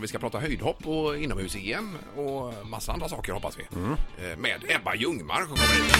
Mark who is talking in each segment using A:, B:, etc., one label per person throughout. A: Vi ska prata höjdhopp och inomhus-EM och massa andra saker hoppas vi.
B: Mm.
A: Eh, Med Ebba Ljungmark. som kommer hit.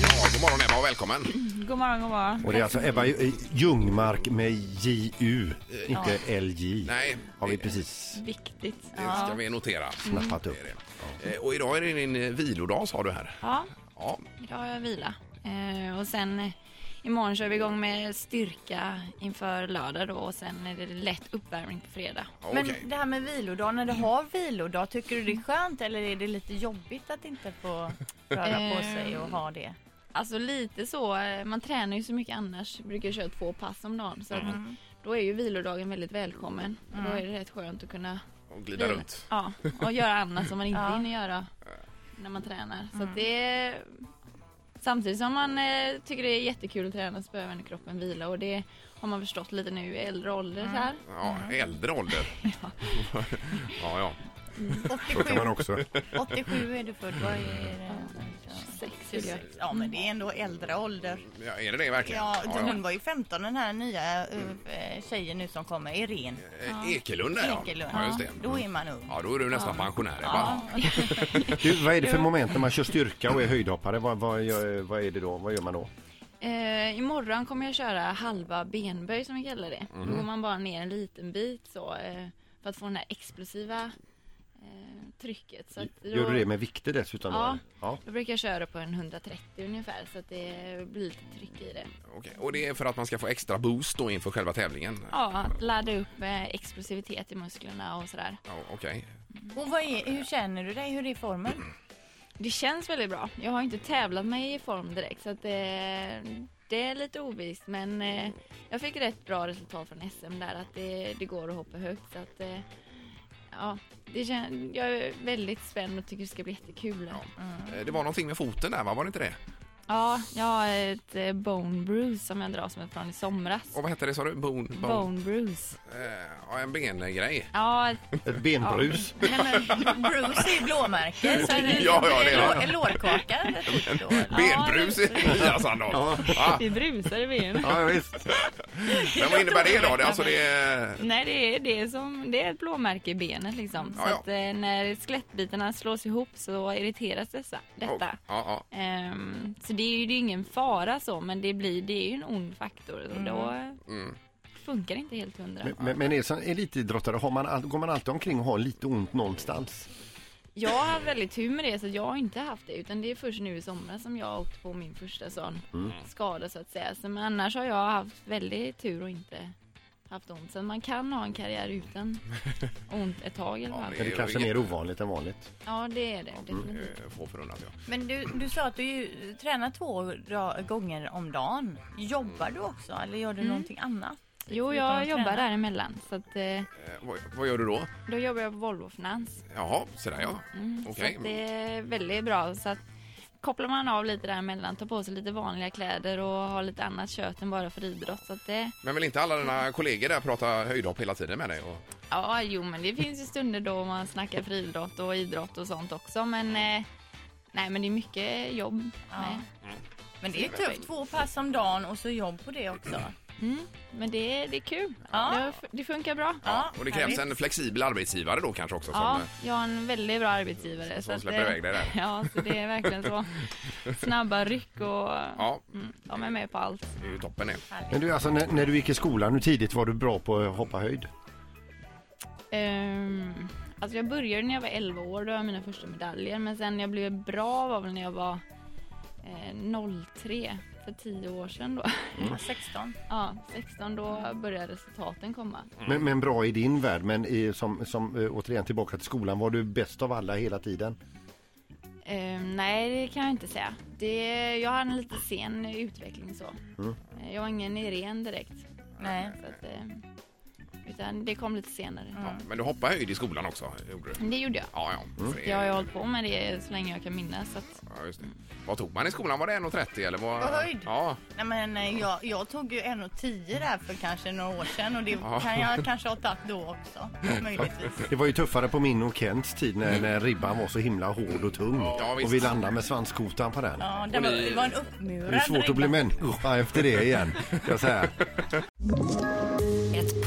A: Ja, god morgon Ebba och välkommen.
C: God morgon, god morgon.
B: Och det är alltså Ebba eh, Ljungmark med JU, inte LJ.
A: Nej,
B: Har vi
A: det-
B: precis
C: Viktigt.
A: Det ska vi notera.
B: snappat upp.
A: Det är det. Eh, Och idag är det din eh, vilodag sa du här.
C: Ja,
A: Ja,
C: idag har jag vila. Eh, och sen eh, imorgon kör vi igång med styrka inför lördag då och sen är det lätt uppvärmning på fredag.
A: okej.
D: Men det här med vilodag, när du har vilodag, tycker du det är skönt eller är det lite jobbigt att inte få röra
A: Eh.
D: på sig och ha det?
C: Alltså lite så, eh, man tränar ju så mycket annars, brukar köra två pass om dagen. Så att Då är ju vilodagen väldigt välkommen. Och Då är det rätt skönt att kunna
A: Och glida
C: vila.
A: runt.
C: Ja, och göra annat som man inte
D: Ja.
C: hinner göra när man tränar. Så att det är... Samtidigt som man eh, tycker det är jättekul att träna så behöver ändå kroppen vila och det har man förstått lite nu i äldre ålder så här.
A: Ja, äldre ålder. ja, ja.
D: 87,
B: också.
D: 87 är du född, vad är det?
C: Sex vill jag.
D: 26. Ja men det är ändå äldre ålder.
A: ja. Är det det verkligen?
D: Ja, hon var ju 15 den här nya eh, tjejen nu som kommer, Irene
A: Eh, Ekelunda, ja.
D: Ekelund.
A: Ja, just det.
D: Då är man ung.
A: Ja, då är du nästan pensionär Ebba.
B: Du, vad är det för moment när man kör styrka och är höjdhoppare? Vad, vad, gör- vad är det då? Vad gör man då?
C: Eh, imorgon kommer jag köra halva benböj som vi kallar det.
B: Mhm.
C: Då går man bara ner en liten bit så eh, för att få den här explosiva eh, trycket. Så att då,
B: Gör du det med vikter dessutom? då?
C: Ja.
B: ja.
C: Då brukar jag köra på en 130 ungefär så att det blir lite tryck i det.
A: Okej, Och det är för att man ska få extra boost då inför själva tävlingen?
C: Ja, ladda upp eh, explosivitet i musklerna och sådär.
A: Ja, Okej.
D: Och vad är, hur känner du dig? Hur är formen?
C: Det känns väldigt bra. Jag har inte tävlat mig i form direkt så att det, det är lite ovisst men eh, jag fick rätt bra resultat från SM där att det, det går att hoppa högt så att eh, ja, det kän, jag är väldigt spänd och tycker det ska bli jättekul.
A: Ja. Eh, Det var någonting med foten där, va? Var det inte det?
C: Ja, jag har ett eh, bone bruise som jag dras med från i somras.
A: Och vad hette det sa du? Bone? bone.
C: Bone bruise.
A: Eh, Ja, en bengrej.
C: Ja,
B: Ett benbrus.
D: Nej, men Bruce är ju blåmärken så är det
A: Ja, ja, det är det.
D: lår- lårkaka. Då.
A: Benbrus i Elias Sandahl. Ja.
C: det brusar i benen.
B: Ja, visst.
A: Men vad innebär det då? Det, är alltså det är...
C: Nej, det är, det, är som, det är ett blåmärke i benet liksom.
A: Ja,
C: Så
A: ja.
C: att eh, när skelettbitarna slås ihop så irriteras dessa, detta.
A: Ja, ja.
C: Ehm, så det är ju det är ju ingen fara så, men det, blir, det är ju en ond faktor. Och då eh,
A: Mm.
C: funkar det inte helt hundra.
B: Men- Men, men är som elitidrottare, har man, all- går man alltid omkring och har lite ont någonstans?
C: Jag har haft väldigt tur med det, så jag har inte haft det. Utan det är först nu i somras som jag åkte på min första sån skada så att säga. Så, men annars har jag haft väldigt tur och inte haft ont. Så man kan ha en karriär utan ont ett tag i alla
A: Ja,
C: fall.
A: det
B: Är det
A: är
B: kanske
A: ju-
B: mer ovanligt än vanligt?
C: Ja, det är det definitivt.
A: Eh, Få förunnat, ja.
D: Men du, du sa att du ju tränar två dra- gånger om dagen. Jobbar du också eller gör du
A: Mm.
D: någonting annat?
C: Jo,
D: Utan
C: jag
D: att
C: jobbar
D: träna?
C: däremellan. Så att, eh,
A: Eh, Vad, vad gör du då?
C: då jobbar jag på Volvo Finans. Mm.
A: Jaha, sådär ja. Okej.
C: Så att det är väldigt bra. Så att, kopplar man av lite däremellan, tar på sig lite vanliga kläder och har lite annat kött än bara för idrott. Så att det,
A: Men vill inte alla dina kollegor där prata höjdhopp hela tiden med dig? Och...
C: ja, jo, men det finns ju stunder då man snackar friidrott och idrott och sånt också. Men, eh, nej, men det är mycket jobb. med.
D: Men det är ju tufft. Två pass om dagen och så jobb på det också.
C: Mm. Men det, det är kul.
D: Ja.
C: Det, det funkar bra.
A: Ja, och det krävs
D: härligt.
A: en flexibel arbetsgivare då kanske också?
C: Ja,
A: Som,
C: jag har en väldigt bra arbetsgivare.
A: Som
C: så att,
A: släpper
C: eh,
A: iväg dig där.
C: Ja, så det är verkligen så. Snabba ryck och
A: ja,
C: mm, de är med på allt.
A: det är ju toppen det.
B: Men du, alltså när, när du gick i skolan, hur tidigt var du bra på att hoppa höjd?
C: Ehm, alltså jag började när jag var 11 år, då var mina första medaljer. Men sen jag blev bra var väl när jag var eh, 03, för 10 år sedan då.
A: Mm.
D: Ja, 16.
C: ja, 16 då började resultaten komma.
B: Men, men bra i din värld, men i, som, som eh, återigen tillbaka till skolan, var du bäst av alla hela tiden?
C: Ehm, nej, det kan jag inte säga. Det, jag hade en lite sen utveckling så. Eh, Jag var ingen Irene direkt.
D: Nej.
C: Så att, eh, utan det kom lite senare.
A: Ja, men du hoppar höjd i skolan också? Gjorde du?
C: Men det gjorde jag.
A: Ja, ja. Så det-
C: Jag har ju hållit på med det så länge jag kan minnas. Så att,
A: Ja, just det. Vad tog man i skolan? Var det 1,30 eller? Var...
D: Vad höjd?
A: Ja,
D: Nej, men eh, jag, jag tog ju 1,10 där för kanske några år sedan och det
A: Ja.
D: kan jag kanske ha tagit då också. Möjligtvis.
B: Det var ju tuffare på min och Kents tid när, när ribban var så himla hård och tung
A: Ja, visst.
B: och vi landade med svanskotan på den.
D: Ja, det var, det var en uppmurad
B: Det är svårt att bli
D: ribba.
B: människa efter det igen. kan Jag säga.
E: Ett